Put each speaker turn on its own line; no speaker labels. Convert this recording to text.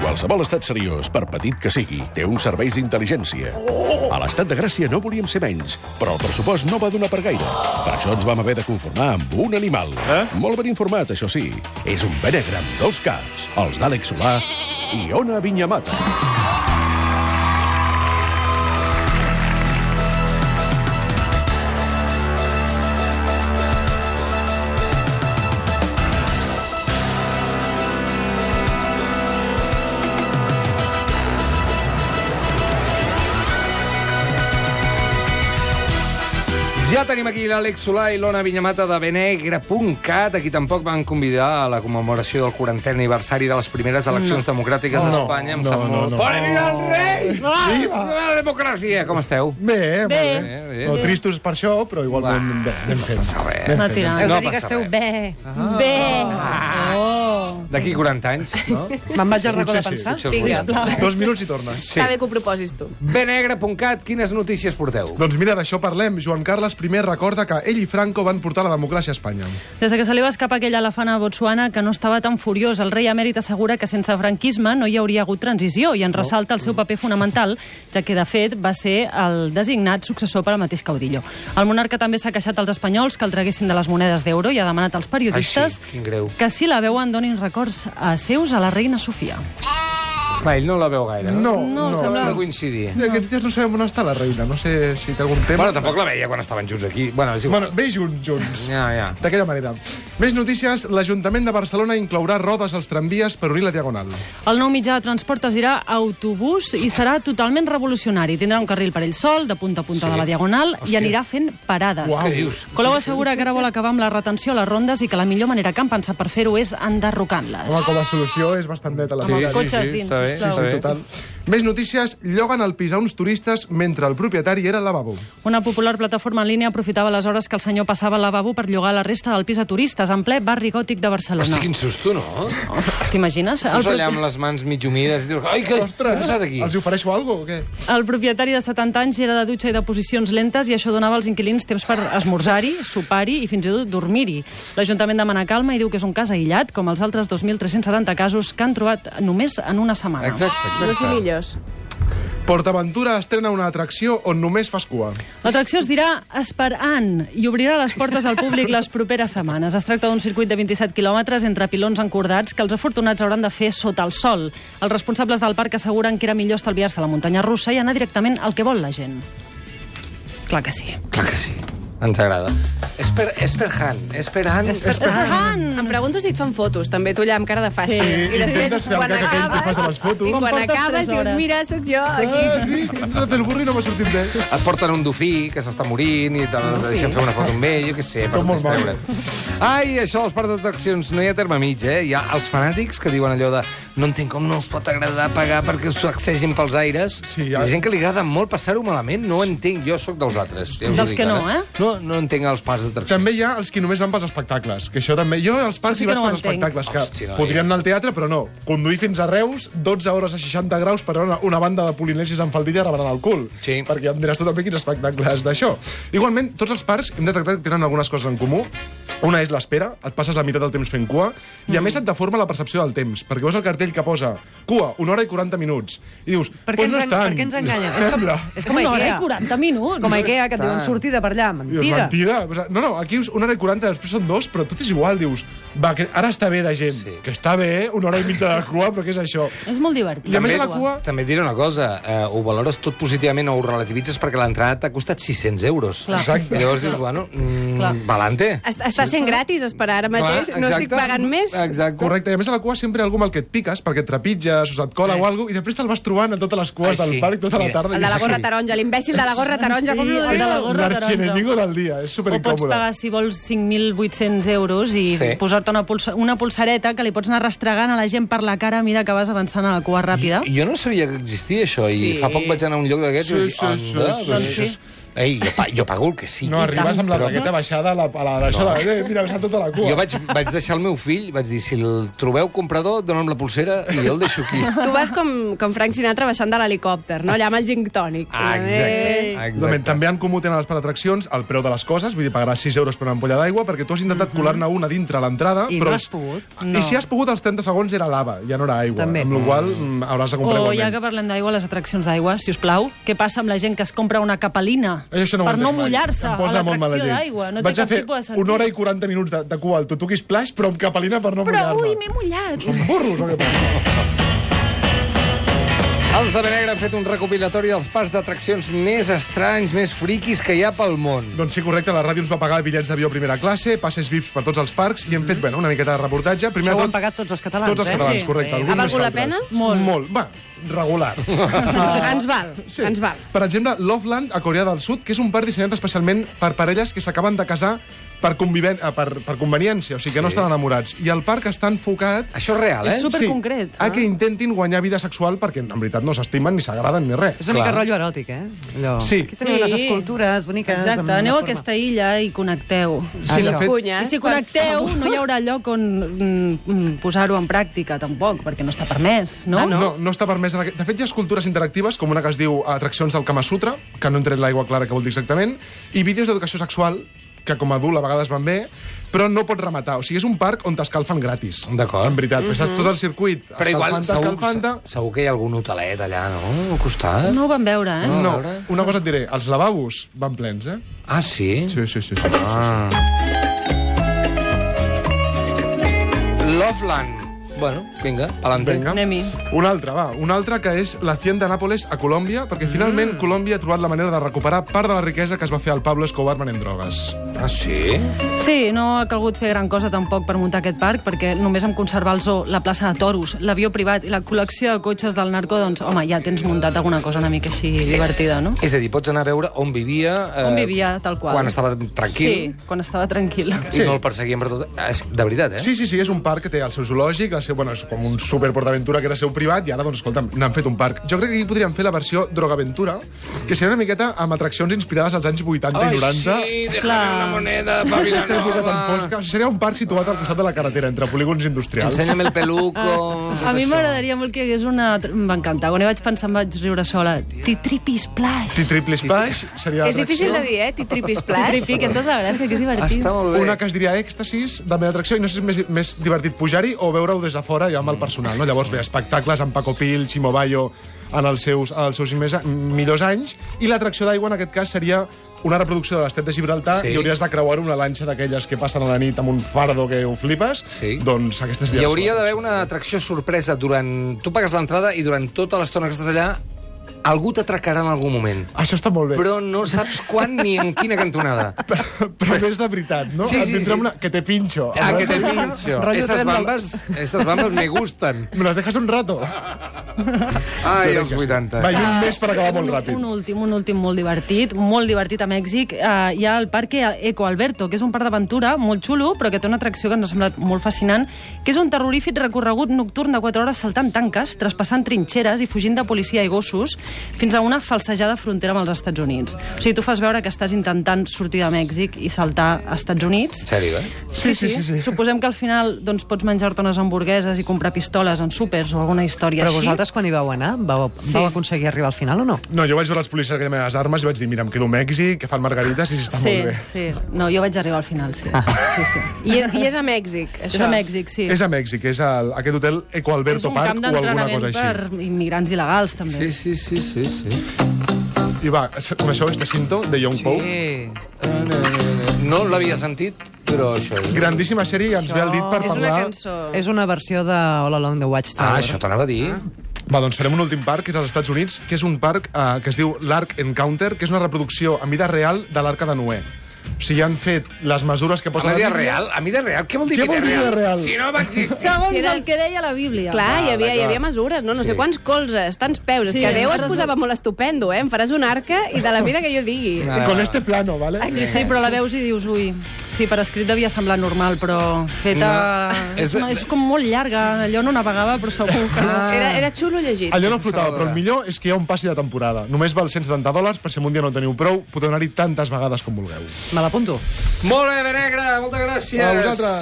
Qualsevol estat seriós, per petit que sigui, té uns serveis d'intel·ligència. A l'estat de Gràcia no volíem ser menys, però el pressupost no va donar per gaire. Per això ens vam haver de conformar amb un animal.
Eh?
Molt ben informat, això sí. És un benegre amb dos caps, els d'Àlex Solà i Ona Vinyamata.
Ja tenim aquí l'Àlex Solà i l'Ona Vinyamata de Benegre.cat, a qui tampoc van convidar a la commemoració del 40è aniversari de les primeres eleccions no. democràtiques no, a Espanya. Em
no,
sap
no,
molt.
no.
Bona vida al rei!
Viva!
Viva la democràcia! Com esteu?
Bé,
Bé.
bé. Molt bé.
Bé, bé.
No, tristos per això, però igualment
Va.
bé, anem fent.
No, bé.
Anem
No
fent.
tirant.
No
No, no
passa
que esteu
res.
bé.
Ah.
Bé.
Oh.
D'aquí 40 anys. No?
Me'n vaig al racó de
Potser sí,
pensar.
potser els
Vinga.
vull.
Dos minuts i tornes.
Sí.
Està bé que ho proposis tu.
Benegre.cat, quines notícies porteu?
Doncs mira, d'això parlem. Joan Carles I recorda que ell i Franco van portar la democràcia a Espanya.
Des de que se li va escapar aquell elefant a Botswana que no estava tan furiós, el rei emèrit assegura que sense franquisme no hi hauria hagut transició i
Oh.
en ressalta el seu paper fonamental, ja que, de fet, va ser el designat successor per al mateix caudillo. El monarca també s'ha queixat als espanyols que el traguessin de les monedes d'euro i ha demanat als periodistes
Ai, sí, quin greu.
que si la veuen donin records a seus a la reina Sofia.
Va, ell no la veu gaire.
No,
No,
no. no.
sembla-
Sembla... No coincidir.
Aquests dies no sabem on està la reina. No sé si té algun tema...
Bueno, tampoc la veia quan estaven junts aquí. Bueno, és igual.
Bueno, bé junts, junts.
Ja, ja.
D'aquella manera. Més notícies. L'Ajuntament de Barcelona inclourà rodes als tramvies per unir la Diagonal.
El nou mitjà de transport es dirà autobús i serà totalment revolucionari. Tindrà un carril per ell sol, de punta a
Sí.
punta sí. de la Diagonal,
Hòstia.
i anirà fent parades.
Uau. Què dius?
Colau assegura que ara vol acabar amb la retenció a les rondes i que la millor manera que han pensat per fer-ho és enderrocant-les.
Home, com a solució és bastant neta la
Amb els
veritat.
cotxes dins,
Està bé,
sisplau.
està bé.
Total. Més notícies. Lloguen el pis a uns turistes mentre el propietari era al lavabo.
Una popular plataforma en línia aprofitava les hores que el senyor passava al lavabo per llogar la resta del pis a turistes en ple barri gòtic de Barcelona.
Hosti, quin susto, no?
Oh, T'imagines?
Estàs
propi-
allà amb les mans mig humides i dius... Ai, que... Ostres, què ha passat aquí?
els hi ofereixo alguna cosa o què?
El propietari de 70 anys era de dutxa i de posicions lentes i això donava als inquilins temps per esmorzar-hi, sopar-hi i fins i tot dormir-hi. L'Ajuntament demana calma i diu que és un cas aïllat, com els altres 2.370 casos que han trobat només en una setmana.
Exacte,
No i
exacte.
millors.
PortAventura estrena una atracció on només fas cua.
L'atracció es dirà Esperant i obrirà les portes al públic les properes setmanes. Es tracta d'un circuit de 27 quilòmetres entre pilons encordats que els afortunats hauran de fer sota el sol. Els responsables del parc asseguren que era millor estalviar-se la muntanya russa i anar directament al que vol la gent. Clar que sí.
Clar que sí. Ens agrada. És per, és per Han. És per Han. És per
Ah. Em pregunto si et fan fotos, també, tu allà amb cara de fàcil.
Sí.
I després,
Intentes fer el
quan
cas aquell que fas a les
acabes,
fotos.
i
Com
quan
portes
acabes
tres
dius,
hores.
mira, sóc jo, aquí.
Ah, sí, he intentat el burri i no m'ha sortit bé.
Et porten un dofí que s'està morint i te, te deixen fer una foto amb ell, jo què sé, per
Tot molt mal.
distreure't. Ai, això dels parcs d'atraccions no hi ha terme mig, eh? Hi ha els fanàtics que diuen allò de no entenc com no us pot agradar pagar perquè us sacsegin pels aires.
Sí,
hi
ja.
ha gent que li agrada molt passar-ho malament, no ho entenc, jo sóc dels altres. Ja us ho
Dels
dic
que no,
ara.
eh?
No, no entenc els parcs d'atraccions.
També hi ha els que només van pels espectacles, que això també... Jo als parcs
Sí
hi
que
vaig
no ho
pels
entenc.
espectacles, que
Hosti, noi.
podríem anar al teatre, però no. Conduir fins a Reus, 12 hores a 60 graus per una, una banda de polinesis amb faldilla rebran el cul.
Sí.
Perquè ja em diràs tu també quins espectacles d'això. Igualment, tots els parcs hem detectat que tenen algunes coses en comú. Una és l'espera, et passes la meitat del temps fent cua, i a
Mm.
més et deforma la percepció del temps, perquè veus el cartell que posa cua, una hora i 40 minuts, i dius,
Per què,
pues no és
ens, en-
tant.
per què ens enganyen? És com,
Sembla.
és com a
una hora i
Ikea.
40 minuts.
Com a Ikea, que et diuen sortida per allà.
Dius,
Mentida.
mentida. O sea, no, no, aquí us- una hora i 40, després són dos, però tot és igual. Dius, va, que ara està bé de gent.
Sí.
Sí. Que està bé, eh? una hora i mitja de cua, però què és això?
És molt divertit.
I a més
També-
de la cua...
També et diré una cosa, eh, ho valores tot positivament o ho relativitzes perquè l'entrada t'ha costat 600 euros.
Clar.
Exacte.
I llavors dius, bueno,
Clar.
mm, valante.
Està, està sent gratis esperar ara mateix,
Clar,
no estic
exacte,
pagant més.
Exacte.
Correcte, i a més a la cua sempre hi ha algú amb el que et piques, perquè et trepitges, o se't cola o alguna i després te'l vas trobant a totes les cues
Ai, sí.
del parc tota la
Mira,
tarda.
El de la gorra taronja, l'mbècil de la gorra taronja, com
Sí, el de la
l'odies?
gorra taronja.
L'arxenemigo del dia, és
O pots
superincòmode.
pagar, si vols, 5.800 euros
Sí.
i sí. posar-te una, pulsa, una pulsareta que li pots anar rastregant a la gent per la cara a mesura que vas avançant a la cua ràpida.
Jo no sabia que existia això, i
Sí.
fa poc vaig anar a un lloc d'aquests
Sí,
i vaig dir,
sí, sí,
"Anda,
sí,
doncs
sí.
això és- Ei, jo, pa, jo pago el que sigui.
No, arribes amb la
Però-
taqueta baixada a la, a la baixada. No. Eh, mira, s'ha tota la cua.
Jo vaig, vaig deixar el meu fill, vaig dir, si el trobeu comprador, dona'm la pulsera i jo el deixo aquí.
Tu vas com, com Frank Sinatra baixant de l'helicòpter, no? Allà amb el gin tònic. Eh,
Ah, exacte.
També,
exacte.
també han comú tenen les per atraccions el preu de les coses, vull dir, pagaràs 6 euros per una ampolla d'aigua, perquè tu has intentat
Mhm.
colar-ne una dintre a l'entrada.
I no
però...
has pogut.
No. I si has pogut, als 30 segons era lava, ja no era aigua.
També.
Amb la qual cosa mm, hauràs de comprar
O Oh, ja
igualment.
que parlem d'aigua, les atraccions d'aigua, si us plau, què passa amb la gent que es compra una capelina
Això no ho
per
he
no
entès mai.
mullar-se
Em
a
posa molt mala
l'atracció
llet.
d'aigua? No
Vaig
té
a
cap
fer
tipus de sentit.
una hora i 40 minuts de, de cua al tutuqui splash, però amb capelina per no
Però,
mullar-me.
ui, m'he mullat!
Són burros, o què passa?
Els de Benegre han fet un recopilatori dels parcs d'atraccions més estranys, més friquis que hi ha pel món.
Doncs sí, correcte, la ràdio ens va pagar bitllets d'avió a primera classe, passes VIPs per tots els parcs i hem fet bueno, una miqueta de reportatge. Primer
Això
de
ho
tot-
han pagat tots els catalans,
Tots els
eh?
catalans,
Sí.
correcte. alguns
Ha
més que
valgut la
altres.
pena?
Molt.
Molt. Va, regular.
Ens val,
Sí.
ens val.
Per exemple, Loveland, a Corea del Sud, que és un parc dissenyat especialment per parelles que s'acaben de casar per, conviven... eh, per, per conveniència, o sigui que sí. no estan enamorats. I el parc està enfocat
Això és real, eh?
És super- Superconcret,
Sí, a que intentin guanyar vida sexual perquè en veritat no s'estimen ni s'agraden ni res.
És una mica
Clar.
rotllo eròtic, eh? Allò.
Sí.
Aquí teniu unes escultures boniques. amb
Exacte,
una
aneu a
forma.
aquesta illa i connecteu.
Sí, de
Això.
fet,
Cunya,
I si
per
connecteu,
favor.
no hi haurà lloc on mm, mm, posar-ho en pràctica, tampoc, perquè no està permès, Ah, no?
Ah, No, no està permès. En aquest... De fet, hi ha escultures interactives, com una que es diu Atraccions del Kama Sutra, que no hem tret l'aigua clara que vol dir exactament, i vídeos d'educació sexual, que com a adult a vegades van bé, però no pots rematar. O sigui, és un parc on t'escalfen gratis.
D'acord.
En veritat, mm -hmm.
Mm-hmm.
tot el circuit.
Però igual segur,
escalfant
segur que hi ha algun hotelet allà, no? Al costat?
No ho van veure, eh?
No,
Ah, A veure.
una cosa et diré, els lavabos van plens, eh?
Ah, sí?
Sí, sí, sí. sí.
Ah. Loveland. Bueno, vinga, adelante.
Vinga.
Anem-hi.
Una altra, va. Una altra que és la Hacienda Nàpoles a Colòmbia,
Mm.
perquè finalment Colòmbia ha trobat la manera de recuperar part de la riquesa que es va fer al Pablo Escobar venent drogues.
Ah, sí?
Sí, no ha calgut fer gran cosa tampoc per muntar aquest parc, perquè només amb conservar el zoo, la plaça de toros, l'avió privat i la col·lecció de cotxes del narco, doncs, home, ja tens muntat alguna cosa una mica així divertida, no?
És a dir, pots anar a veure on vivia... Eh,
On vivia, tal qual.
Quan estava tranquil.
Sí, quan estava tranquil.
I
Sí.
no el perseguien per tot... Ah, és- De veritat, eh?
Sí, sí, sí, és un parc que té el seu zoològic, el seu, bueno, és com un superportaventura que era seu privat, i ara, doncs, escolta'm, n'han fet un parc. Jo crec que aquí podríem fer la versió Drogaventura, que seria una miqueta amb atraccions inspirades als anys 80
Ai,
i 90.
sí, déjame una moneda pa
Aquesta època tan
Vilanova.
fosca. O sigui, Seria un parc situat al costat de la carretera, entre polígons industrials.
Ensenya'm el peluco.
A mi m'agradaria molt que hi hagués una... M'encanta. Quan hi vaig pensar em vaig riure sola. Titripi Splash.
T-triple splash seria
És difícil
l'atracció.
de dir, eh? Titripis plats.
Titripi, aquesta és la gràcia, que és divertit.
Està molt bé.
Una que es diria èxtasis, també d'atracció, i no sé si és més, més divertit pujar-hi o veure-ho des de fora ja amb el personal. No? Llavors, bé, espectacles amb Paco Pil, Chimo Bayo, en els seus, en els seus més, millors anys, i l'atracció d'aigua, en aquest cas, seria una reproducció de l'estat de Gibraltar
Sí.
sí. i hauries de creuar una lanxa d'aquelles que passen a la nit amb un fardo que ho flipes,
Sí.
doncs aquesta seria
Hi
la
hauria
segona.
d'haver una atracció sorpresa durant... Tu pagues l'entrada i durant tota l'estona que estàs allà algú t'atracarà en algun moment.
Això està molt bé.
Però no saps quan ni en quina cantonada.
Però més de veritat, no?
Sí,
Et
sí,
vindrà
sí.
Una... Que te pincho.
Ah, que te pincho.
Rotllo
Esas
tren del-
bambas, esas bambas me gustan.
Me las dejas un rato.
Ai,
Jo crec
els
que sí.
80.
Va, i un més per acabar molt
Un-
ràpid.
Un últim, un últim molt divertit, molt divertit a Mèxic. Uh, hi ha el Parque Eco Alberto, que és un parc d'aventura molt xulo, però que té una atracció que ens ha semblat molt fascinant, que és un terrorífic recorregut nocturn de 4 hores saltant tanques, traspassant trinxeres i fugint de policia i gossos fins a una falsejada frontera amb els Estats Units. O sigui, tu fas veure que estàs intentant sortir de Mèxic i saltar a Estats Units,
En sèrio, eh?
Sí, sí, sí. sí, sí.
Suposem que al final doncs, pots menjar-te unes hamburgueses i comprar pistoles en súpers o alguna història
Però
així.
vosaltres, quan hi vau anar, vau, vau aconseguir arribar al final o no?
No, jo vaig veure els policies que tenien les armes i vaig dir, mira, em quedo a Mèxic, que fan margarites i està
Sí,
Ah, molt bé. Ah.
sí. No, jo vaig arribar al final, sí. sí, sí.
I és, I és a Mèxic, això.
És a Mèxic, sí.
És a Mèxic, és al, aquest hotel Eco
És
Alberto
un
Park
camp
o alguna
d'entrenament
cosa així.
per immigrants il·legals, també.
Sí, sí, sí, sí, sí.
I va, coneixeu este cinto de Young sí. Pope?
Sí.
No l'havia sentit, però això és...
Grandíssima sèrie que ens ve al dit per
És una
parlar...
cançó.
És una versió de All Along the Watchtower.
Ah, això t'anava a dir.
Va, doncs farem un últim parc, que és als Estats Units, que és un parc eh, que es diu l'Arc Encounter, que és una reproducció en vida real de l'Arca de Noé. O sigui, han fet les mesures que
A
posen...
mi de
a la Bíblia.
real? A mi de real? Què vol dir
Què
que
vol dir de real?
Si no va existir.
Segons
Sí, era-
el que deia la Bíblia.
Clar, hi havia, hi
d'acord.
havia mesures, no? No sé
Sí.
quants colzes, tants peus.
Sí,
és que Déu es
encara
posava molt estupendo, eh? Em faràs un arca i de la mida que jo digui.
Ah.
Con este plano, ¿vale?
Exacte.
Sí, però la veus i dius, ui... Sí, per escrit devia semblar normal, però feta...
No.
És, una- és com molt llarga, allò no navegava, però segur que
Ah.
no.
Era, era xulo llegit.
Allò no flotava,
Salvadora.
però el millor és que hi ha un passi de temporada. Només val 170 dòlars, per si un dia no en teniu prou, podeu anar-hi tantes vegades com vulgueu.
Me l'apunto.
Molt bé, Benegra, moltes gràcies.
A vosaltres.